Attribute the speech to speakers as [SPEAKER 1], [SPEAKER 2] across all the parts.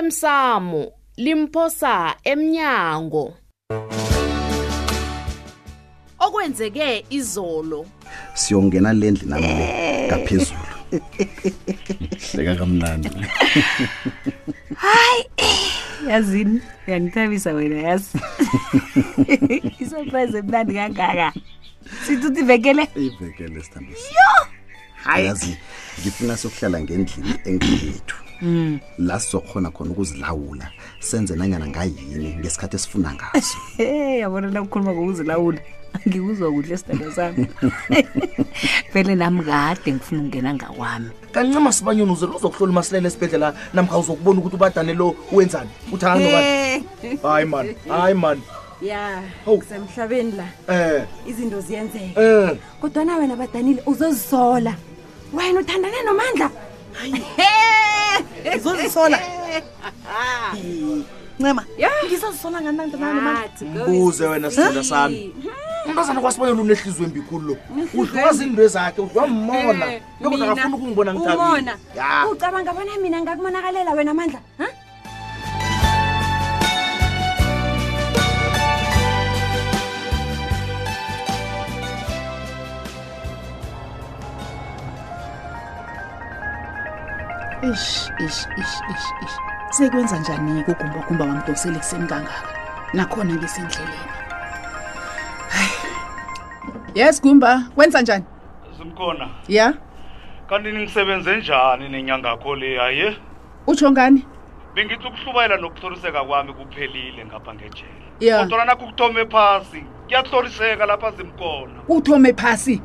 [SPEAKER 1] osemsamo limphosa emnyango okwenzeke izolo
[SPEAKER 2] siyongena le ndlu nami le ngaphezulu
[SPEAKER 3] hleka kamnandi
[SPEAKER 4] yazini uyangithabisa wena yazi isurprise emnandi kangaka sithi uthi vekele
[SPEAKER 2] ivekele sithambisi yazi ngifuna sokuhlala ngendlini engini yethu la sizokhona khona ukuzilawula senze nanyana ngayini ngesikhathi esifuna ngaso
[SPEAKER 4] e yabona nakukhuluma ngokuzilawula angikuzwa kuhle esidalo sami vele nami kade ngifuna ukungena ngakwami
[SPEAKER 5] kancima sibanyoni uzela uzokuhlola masilele esibhedlela namkha uzokubona ukuthi ubadane lo wenzani uthi hayi mani hayi mani
[SPEAKER 6] ya
[SPEAKER 5] Oh.
[SPEAKER 6] kusemhlabeni la
[SPEAKER 5] um
[SPEAKER 6] izinto ziyenzeka
[SPEAKER 5] um
[SPEAKER 6] kodwana wena badanile uzozisola wena uthandane nomandla
[SPEAKER 7] ngizozisola ncema
[SPEAKER 6] ngizozisola ngananganomandla
[SPEAKER 5] mbuze wena sithenja sami umntazana kwasibanyoni unehliziyo embikhulu lo udliwa zinto ezakhe udliwa mmona yokuthi akafuni ukungibona ngithabile
[SPEAKER 6] umona
[SPEAKER 5] ya
[SPEAKER 6] Ah, ucabanga bona mina ngakumonakalela wena mandla ha
[SPEAKER 7] ish ish ish ish ish sekwenza njani-ke ugumbagumba wamdosele ekuseni kangaka nakhona ngisendleleni yes gumba kwenza njani
[SPEAKER 8] Simkhona,
[SPEAKER 7] ya
[SPEAKER 8] kanti ningisebenze njani nenyanga yakho le haye?
[SPEAKER 7] utsho ngani
[SPEAKER 8] Bengithi ukuhlubayela nokuthoriseka kwami kuphelile ngapha ngejele.
[SPEAKER 7] ya
[SPEAKER 8] Kodwa nakho ukuthome phasi, kuyathoriseka lapha Simkhona.
[SPEAKER 7] uthome phasi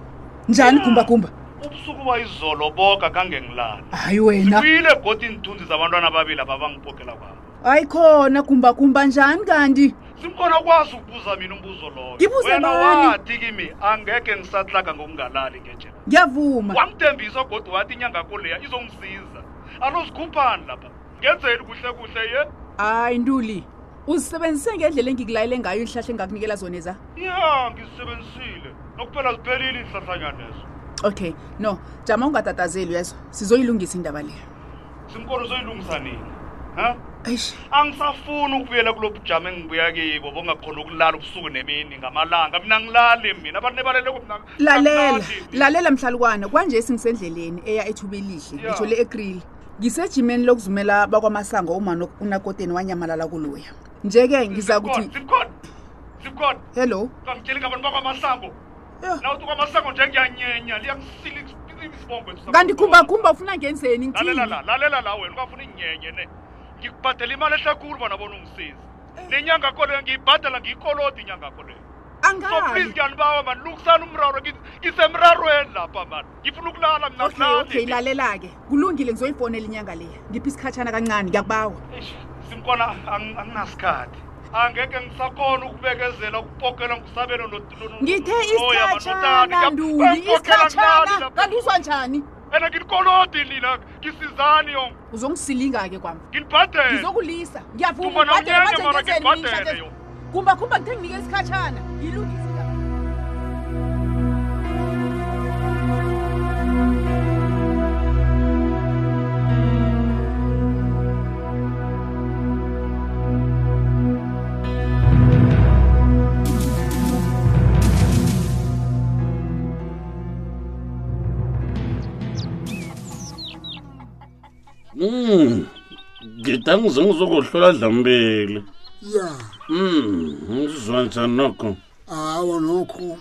[SPEAKER 7] njani gumbagumba
[SPEAKER 8] Ubusuku bayizolo boga kangengilala.
[SPEAKER 7] hayi wena
[SPEAKER 8] Ngifile godi inthunzi zabantwana ababili ababangipokela kwami.
[SPEAKER 7] hayi khona gumbagumba njani kanti
[SPEAKER 8] Simkhona ukwazi ukubuza mina umbuzo lowo.
[SPEAKER 7] Ngibuze
[SPEAKER 8] Wena
[SPEAKER 7] bani?
[SPEAKER 8] wathi kimi angeke ngisahlaga ngokungalali ngejele.
[SPEAKER 7] ngiyavuma
[SPEAKER 8] Wamthembisa godi wathi inyanga yakho leya izongisiza. Alo sikhuphani lapha. Ngenzeni kuhle kuhle ye?
[SPEAKER 7] hayi ntuli uzisebenzise ngendlela engikulayele ngayo ihlahla engakunikela zona eza
[SPEAKER 8] ya ngizisebenzisile nokuphela ziphelile izihlahlanyanezo
[SPEAKER 7] okay no jama ungatatazeli uyezwa sizoyilungisa indaba leyo
[SPEAKER 8] simkolo soyilungisa nini ha
[SPEAKER 7] eish
[SPEAKER 8] angisafuni ukubuyela kulo bujama engibuya kibo bongakhona ukulala ubusuku nemini ngamalanga mina ngilali mina abantu nebaleleko mina
[SPEAKER 7] lalela
[SPEAKER 8] angilali.
[SPEAKER 7] lalela mhlalukwana kwanje singisendleleni eya ethuba elihle
[SPEAKER 8] Ya.
[SPEAKER 7] ngitsho le ekrili ngisejimeni lokuzumela bakwamasango umani unakoteni wanyamalala kuluya nje-ke ngiza
[SPEAKER 8] Zikhona,
[SPEAKER 7] kuthi
[SPEAKER 8] zikhona zikhona
[SPEAKER 7] hello
[SPEAKER 8] kangitsheli ngabantu bakwamasango
[SPEAKER 7] Yho.
[SPEAKER 8] nawuthi kwamasango njengiyanyenya liyangisila isibongo esisam-
[SPEAKER 7] kanti khumbakhumba ufuna ngenzeni
[SPEAKER 8] lalela
[SPEAKER 7] ngithini
[SPEAKER 8] la lalela la wena ungafuna inyenye ne ngikubhadela imali ehle khulu bona bona ungisiza nenyanga kho leyo ngiyibhadela ngiyikolodi inyanga kho leyo so please
[SPEAKER 7] angayi
[SPEAKER 8] ngiyanibawa mani lukusana umraro ngisemrarweni lapha mani ngifuna ukulala mna
[SPEAKER 7] okay okay
[SPEAKER 8] ngilali.
[SPEAKER 7] lalela-ke kulungile ngizoyifonela inyanga leya ngiphi isikhatshana kancane ngiyakubawa
[SPEAKER 8] Eish, simkona ang- anginasikhathi angeke ngisakhona ukubekezela ukupokela ngusabelo
[SPEAKER 7] ngithe isikhatshana nduli isikhatshana kanti uzwa njani
[SPEAKER 8] and nginikolodi nina ngisizani yonke
[SPEAKER 7] uzongisilinga-ke kwami
[SPEAKER 8] nginibhadele
[SPEAKER 7] ngizokulisa
[SPEAKER 8] Uma nawunyanya mara ngikubhadele yo.
[SPEAKER 7] kumbakhumba ngithe nginike isikhatshana yilungisa indaba.
[SPEAKER 9] Mm. Ngidangu zengizokuhlola dlambele.
[SPEAKER 10] ya
[SPEAKER 9] Mm, ngizwanisa nokho.
[SPEAKER 10] hawa nokho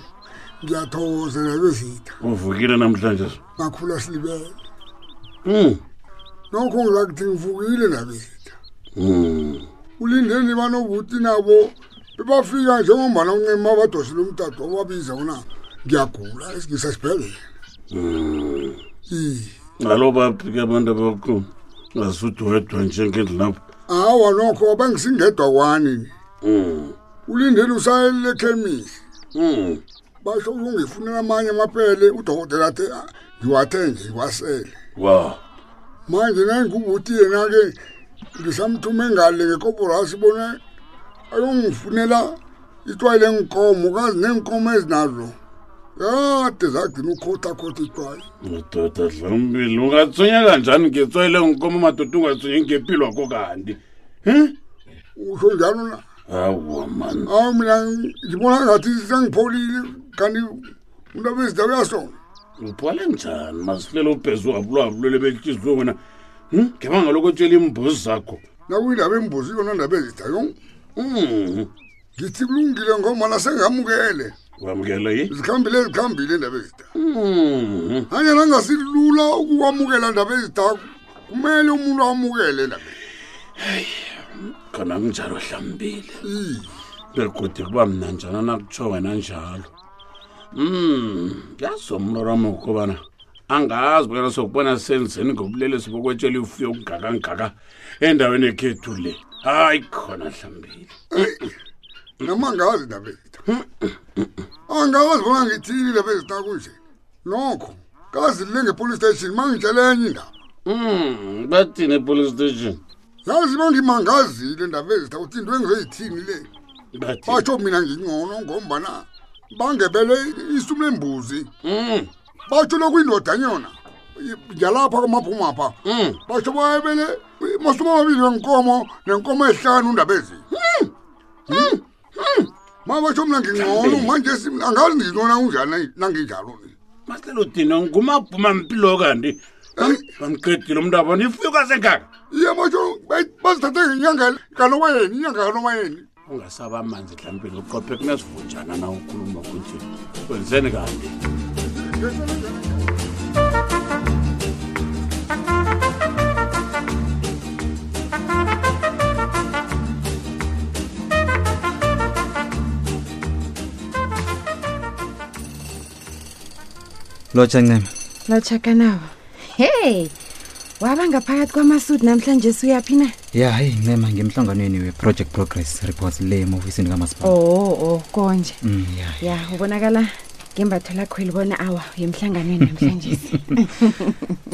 [SPEAKER 10] ngiyathokoza nabezitha
[SPEAKER 9] Uvukile namhlanje.
[SPEAKER 10] makhulu asilibele
[SPEAKER 9] Mm.
[SPEAKER 10] nokho ngizakuthi ngivukile nabezitha
[SPEAKER 9] Mm.
[SPEAKER 10] ulindeni banobuti nabo bebafika njengombana uncema abadosile umdade wababiza una ngiyagula esingisasibhedlela iye
[SPEAKER 9] Ngalo baphi ke abantu abakho? Ngasudwedwa njengendlu lapho.
[SPEAKER 10] hawa nokho bengisingedwa kwani
[SPEAKER 9] Mm.
[SPEAKER 10] ulindeni usayelile ekhemisi
[SPEAKER 9] Mm.
[SPEAKER 10] basho ungifunela amanye amapele udokotela athe "Ah, ngiwathenge ngiwasele
[SPEAKER 9] Wow.
[SPEAKER 10] manje nangubuti yena-ke ngisamthume ngale ngekoporasi bona ayongifunela itwayi lenkomo kazi nenkomo ezinazo yade zagcina ukhotakhotha itwayi
[SPEAKER 9] madoda dlambile ungathunya kanjani ngetswayi leyo nkomo madoda ungathunye ngempilo wakho kanti um
[SPEAKER 10] usho njalo na
[SPEAKER 9] hawa mani
[SPEAKER 10] awu mina ngibona ngathi sengipholile kanti umntu abezida uyasona
[SPEAKER 9] uphwale njani masifulela ubhezu wabulwabulwele behlizwe wena um ngebanga lokwetshela iimbuzi zakho
[SPEAKER 10] nakuyindaba embuzi yona ndaba ezida yo
[SPEAKER 9] Hmm.
[SPEAKER 10] ngithi kulungile ngomana sengamukele
[SPEAKER 9] wamukela yi
[SPEAKER 10] zikhambile zikhambile indaba ezida
[SPEAKER 9] Mhm.
[SPEAKER 10] anyana angasilula ukuwamukela ndaba ezida kumele umuntu awamukele ndaba
[SPEAKER 9] khona kunjalo hlambile begodi kuba mna njana nakutsho wena njalo um yazomloro wami ukubana angazi bukana sokubona senzeni ngobulelesi bokwetshela ifuyo okungaka ngaka endaweni ekhethu le hayi khona hlambile
[SPEAKER 10] noma angazi indaba ezida angazi bona ngithini indaba ezida kunje nokho kazilile ngepolice station mangitshele enye indaba
[SPEAKER 9] um bathini epolice station
[SPEAKER 10] yazi bangimangazile ndaba ezitha kuthi into engizeyithini le
[SPEAKER 9] bathi
[SPEAKER 10] batsho mina ngingcono ngombana bangebele isumu lembuzi batsho lokuyindodanyona yalapha kwamaphumapha batsho bayebele masumu amabili wenkomo nenkomo ehlanu ndaba ezi ma batsho mna ngingcono
[SPEAKER 9] Mhlambe.
[SPEAKER 10] manje si- angazi ngingcona kunjani nanginjalo ni
[SPEAKER 9] maselo dina ngumabhuma mpilo kanti Bam- bamqedile umntu abona ifuyo kasengaka
[SPEAKER 10] iye batsho bazithathe ngenyanga kanoba yeni inyanga kanoba yeni
[SPEAKER 9] ungasaba amanzi hlambile uqophe kunesivunjana na ukhuluma kunje wenzeni kanti
[SPEAKER 11] lotsha ncema
[SPEAKER 6] lotshaka nawo hey waba ngaphakathi kwamasudi namhlanje suyaphi na
[SPEAKER 11] ya hayi ncema ngemhlanganweni we-project progress reports le emofisini kamasipala
[SPEAKER 6] oh oh konje
[SPEAKER 11] Mm, ya
[SPEAKER 6] ya ubonakala ngembatho lakho elibona awa yemhlanganweni namhlanje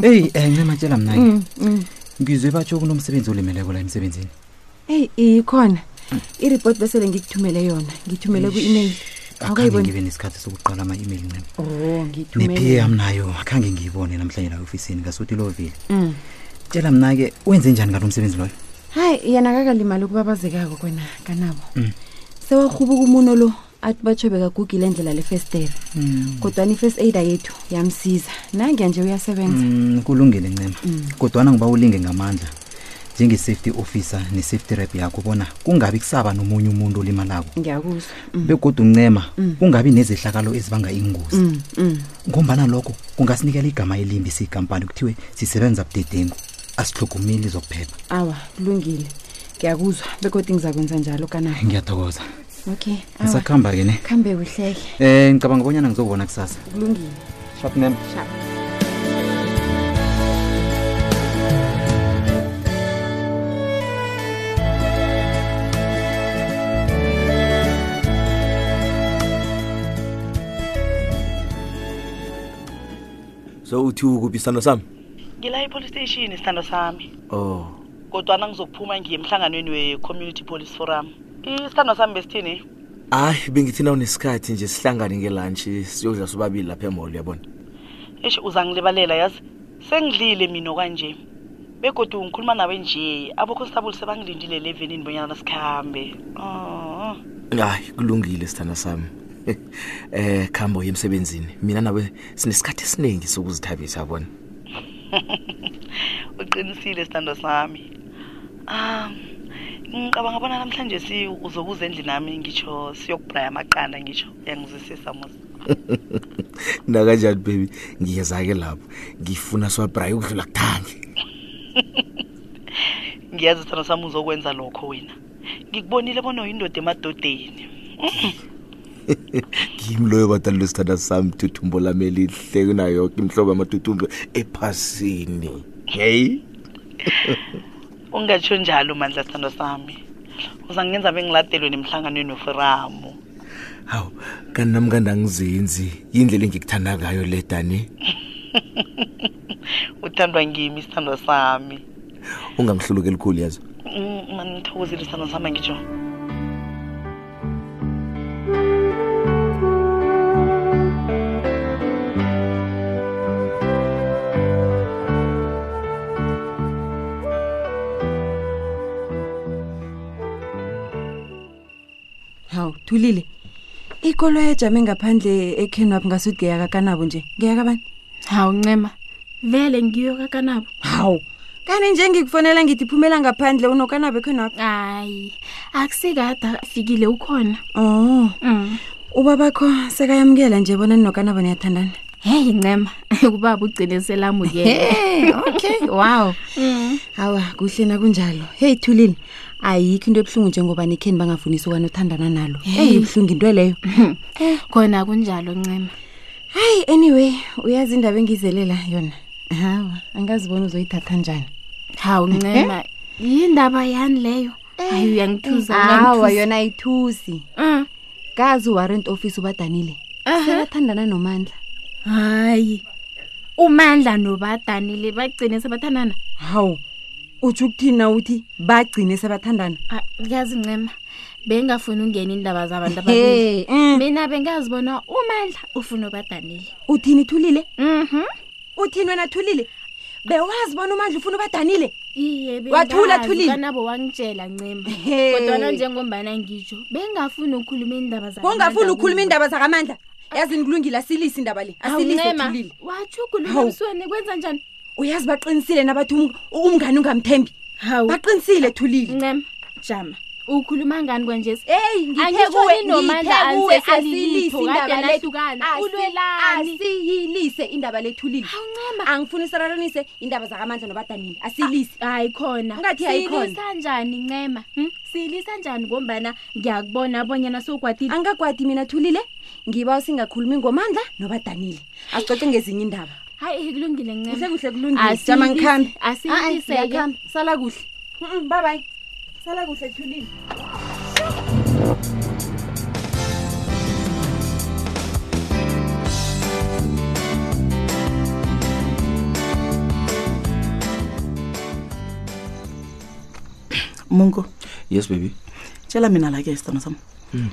[SPEAKER 11] eyi um ncema tshela mnake
[SPEAKER 6] Mm, mm.
[SPEAKER 11] ngizwe batsho kunomsebenzi olimeleko la emsebenzini
[SPEAKER 6] eyi ikhona iripoti besele ngikuthumele yona ngithumele ku-email
[SPEAKER 11] akhange
[SPEAKER 6] awukayiboni Oh,
[SPEAKER 11] ngibe nesikhathi sokuqala ama-email ncema
[SPEAKER 6] o ngithumele
[SPEAKER 11] ne-pa yam nayo akhange ngiyibone namhlanje la ofisini ngasuthi lovile
[SPEAKER 6] Mm.
[SPEAKER 11] tshela mna-ke wenze njani ngalo msebenzi loyo
[SPEAKER 6] hayi yena kakalimali ukubabazekako kwena kanabo
[SPEAKER 11] Mm.
[SPEAKER 6] sewakhubuka umuno lo athi batsho bekagugile endlela lefestere
[SPEAKER 11] Mm.
[SPEAKER 6] kodwani i-first aider yethu yamsiza nangiya nje uyasebenza
[SPEAKER 11] Mm, kulungile ncema
[SPEAKER 6] Mm.
[SPEAKER 11] kodwana ngiba ulinge ngamandla njenge-safety officer ne-safety rep yakho bona kungabi kusaba nomunye umuntu olimalako
[SPEAKER 6] ngiyakuzwa
[SPEAKER 11] begodwa uncema
[SPEAKER 6] Mm.
[SPEAKER 11] kungabi nezehlakalo ezibanga ingozi
[SPEAKER 6] Mm, mm.
[SPEAKER 11] ngombana lokho kungasinikela igama elimbi siyikampani kuthiwe sisebenza budedengu asihlogumeli zokuphepha
[SPEAKER 6] awa kulungile ngiyakuzwa bekodwa ngizakwenza njalo kanabo
[SPEAKER 11] ngiyathokoza
[SPEAKER 6] okay awa.
[SPEAKER 11] ngisakuhamba-ke ne
[SPEAKER 6] khambe kuhleke
[SPEAKER 11] um ngicabanga bonyana ngizobona kusasa
[SPEAKER 6] kulungile
[SPEAKER 11] shap nem
[SPEAKER 6] sharp
[SPEAKER 12] so uthi ukuphi isithando sami
[SPEAKER 13] ngila epolice station isithando sami
[SPEAKER 12] oh
[SPEAKER 13] kodwana ngizokuphuma ngiye emhlanganweni we-community police forum isithando sami besithini
[SPEAKER 12] hayi bengithina unesikhathi nje sihlangane ngelantshi siyodla sobabili lapha emall uyabona
[SPEAKER 13] eshi uzangilibalela yazi sengidlile mina kanje begodu ngikhuluma nawe nje abokhonstabule sebangilindile elevenini bonyana sikhambe oh.
[SPEAKER 12] hayi kulungile sithanda sami eh khambo yemsebenzini mina nawe sinesikhathi esiningi sokuzithabisa yabona
[SPEAKER 13] uqinisile sithando sami um ngicabanga bona namhlanje si uzokuza endlini nami ngitsho siyokubraya amaqanda ngitsho uyangizwisisa mos
[SPEAKER 12] nakanjani baby ngiyeza-ke lapho ngifuna swabhrayi ukudlula kuthange
[SPEAKER 13] ngiyazi sithando sami uzokwenza lokho wena ngikubonile bona uyindoda emadodeni Mhm.
[SPEAKER 12] ngimi loyo badalelo sithanda sami thuthumbo lami elihle kunayo yonke imihlobo yamathuthumbo ephasini heyi
[SPEAKER 13] ungatsho njalo mandla sithando sami uzangenza bengiladelwe nemhlanganweni wefiramu
[SPEAKER 12] hawu kanti namkandi angizenzi yindlela engikuthanda ngayo le dani
[SPEAKER 13] uthandwa ngimi isithando sami
[SPEAKER 12] ungangihlulukeli khulu yazo
[SPEAKER 13] Mm, mani ngithokozile isithando sami angitsho
[SPEAKER 14] hawu thulile ikolo ejame ngaphandle ekenwap ngasuthi ngeyakakanabo nje ngeyakabani hawu ncema vele ngiyo kakanabo hawu kani nje ngikufonela ngithi phumela ngaphandle unokanabo ekenwap hayi akusekada fikile ukhona o ubabakho Oh. sekayamukela nje bona ninokanabo niyathandana heyi ncema ubaba ugcine selamukele okay wow hawa Mm. kuhle nakunjalo heyi thulile ayikho into ebuhlungu njengoba nikheni bangafunisi okani othandana nalo eyi buhlungu into leyo khona kunjalo ncema hayi anyway uyazi indaba engiyizelela yona hawa angazibona uzoyithatha njani Eh? hawu
[SPEAKER 6] ncema yindaba yani leyo hayi uyangithuza
[SPEAKER 14] hawa yona ayithusi kazi uwarrant office ubadanile sebathandana nomandla
[SPEAKER 6] hayi umandla nobadanile bagcine sebathandana
[SPEAKER 14] hawu utsho ukuthina uthi bagcine sebathandana
[SPEAKER 6] Ah, yazi ncema bengafuni ungena indaba zabantu ababili
[SPEAKER 14] mm.
[SPEAKER 6] mina bengazibona umandla ufuna ubadanile
[SPEAKER 14] uthini thulile
[SPEAKER 6] Mhm.
[SPEAKER 14] uthini wena thulile bewazi bona umandla ufuna ubadanile
[SPEAKER 6] iye
[SPEAKER 14] Wathula, Thulile.
[SPEAKER 6] kanabo wangitshela ncema
[SPEAKER 14] He.
[SPEAKER 6] kodwana njengombana ngitsho bengafuni ukukhuluma indaba zabantu
[SPEAKER 14] ungafuni
[SPEAKER 6] ababili.
[SPEAKER 14] ukukhuluma iindaba zakamandla yazi nikulungile asilise indaba le
[SPEAKER 6] Hawu,
[SPEAKER 14] asilise
[SPEAKER 6] Ncema,
[SPEAKER 14] thulile
[SPEAKER 6] watsho ukhuluma
[SPEAKER 14] Hawu.
[SPEAKER 6] emsweni kwenza njani
[SPEAKER 14] uyazi baqinisile nabathi um- umngani ungamthembi
[SPEAKER 6] hawu
[SPEAKER 14] baqinisile thulile
[SPEAKER 6] ncema jama ukhuluma ngani kwanjesi
[SPEAKER 14] eyi
[SPEAKER 6] angitshoni nomandla asesalilitho kade lahlukana ulwelani
[SPEAKER 14] ulwelaniasiyilise indaba lethulile awuncema angifuni sararanise indaba zakamandla nobadanile asiyilise
[SPEAKER 6] hayi khona
[SPEAKER 14] ungathi ayikhona
[SPEAKER 6] Siyilisa njani ncema hm? siyilisa njani ngombana ngiyakubona abonyana sowugwadile
[SPEAKER 14] angagwadi mina thulile ngiba usingakhulumi ngomandla nobadanile asicoce ngezinye indaba
[SPEAKER 6] hayi kulungile
[SPEAKER 14] kuhle
[SPEAKER 6] ncema
[SPEAKER 14] kuhle kulungile jama ngikhambe
[SPEAKER 6] asiyilise
[SPEAKER 14] ngiyakhamba sala kuhle babayi sala kuhle thulile
[SPEAKER 13] mungo
[SPEAKER 12] yes baby
[SPEAKER 13] tshela mina la-ke sithando sam
[SPEAKER 12] Mm.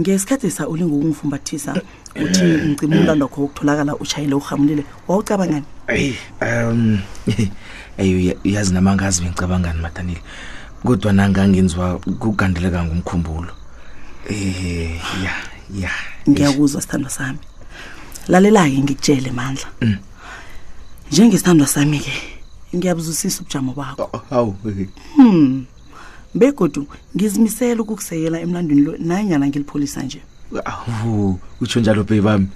[SPEAKER 13] ngesikhathi sa ulingokungifumbathisa uthi
[SPEAKER 12] Eh.
[SPEAKER 13] ngicima umntwana wakho wokutholakala utshayile urhamulile wawucabangani
[SPEAKER 12] eyi um eyi uyazi namangazi bengicabangani madanile kodwa nangangenziwa kugandeleka ngumkhumbulo um ya ya
[SPEAKER 13] ngiyakuzwa sithando sami lalela-ke ngikutshele mandla njengesithandwa sami-ke ngiyabuzwisisa ubujamo bakho
[SPEAKER 12] Eh, hawu
[SPEAKER 13] hmm begodu ngizimisele ukukusekela emlandweni lo nanyana ngilipholisa nje
[SPEAKER 12] awu utsho njalo bheyi bami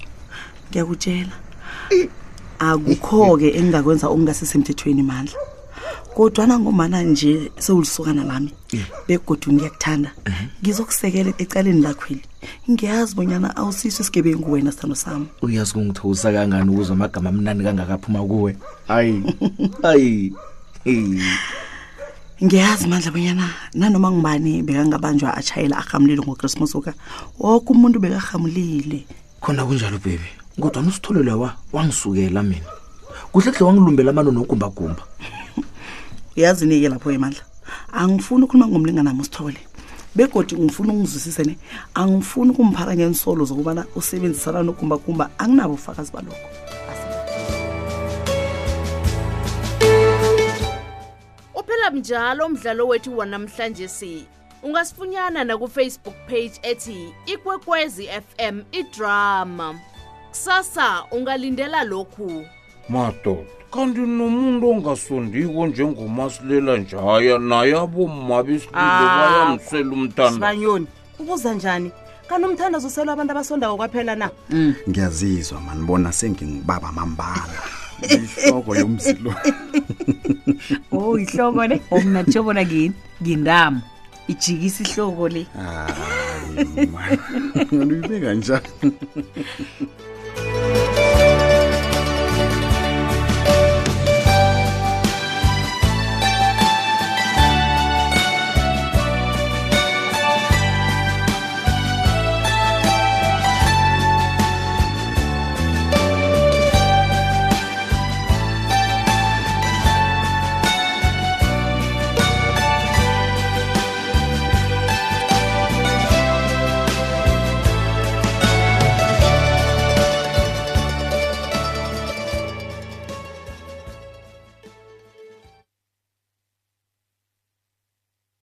[SPEAKER 13] ngiyakutshela akukho-ke engingakwenza okungasisemthethweni mandla kodwana ngomana nje sewulisokana lami begodu ngiyakuthanda ngizokusekela ecaleni lakhweli ngiyazi bonyana awusiso isigebengu wena sithando sami
[SPEAKER 12] uyazi kungithokosa kangani ukuze amagama amnani kangakaphuma kuwe hayi hayi Hey.
[SPEAKER 13] ngiyazi mandla bonyana nanoma ngubani bekangabanjwa atshayela arhamulile ngochristmas oka woke umuntu bekarhamulile
[SPEAKER 12] khona kunjalo bhebi kodwa nisithole lawa wangisukela mina kuhle kuhle wangilumbela amano nogumbagumba
[SPEAKER 13] uyazi nike lapho emandla angifuni ukukhuluma ngomlinganami usithole begodi ngifuna ungizwisise ne angifuni ukumphakanya insolo zokubana usebenzisana nogumbagumba anginabo ufakazi balokho
[SPEAKER 1] uphela mnjalo umdlalo wethu wanamhlanje si ungasifunyana nakufacebook page ethi ikwekwezi fm idrama kusasa ungalindela lokhu
[SPEAKER 15] madoda kanti nomuntu ongasondiko njengomasilela njaya naye abomma besibili
[SPEAKER 16] Ah.
[SPEAKER 15] bayamsela umntana
[SPEAKER 16] sibanyoni ubuza njani kanomthandazo uselwa abantu abasondawo kwaphela na
[SPEAKER 2] ngiyazizwa mani bona sengingibaba mambala ihloko yomzi lo
[SPEAKER 4] o ihloko le o mna nditsho bona ngini ngindamo ijikisa ihloko le
[SPEAKER 2] hayi man uyibeka njani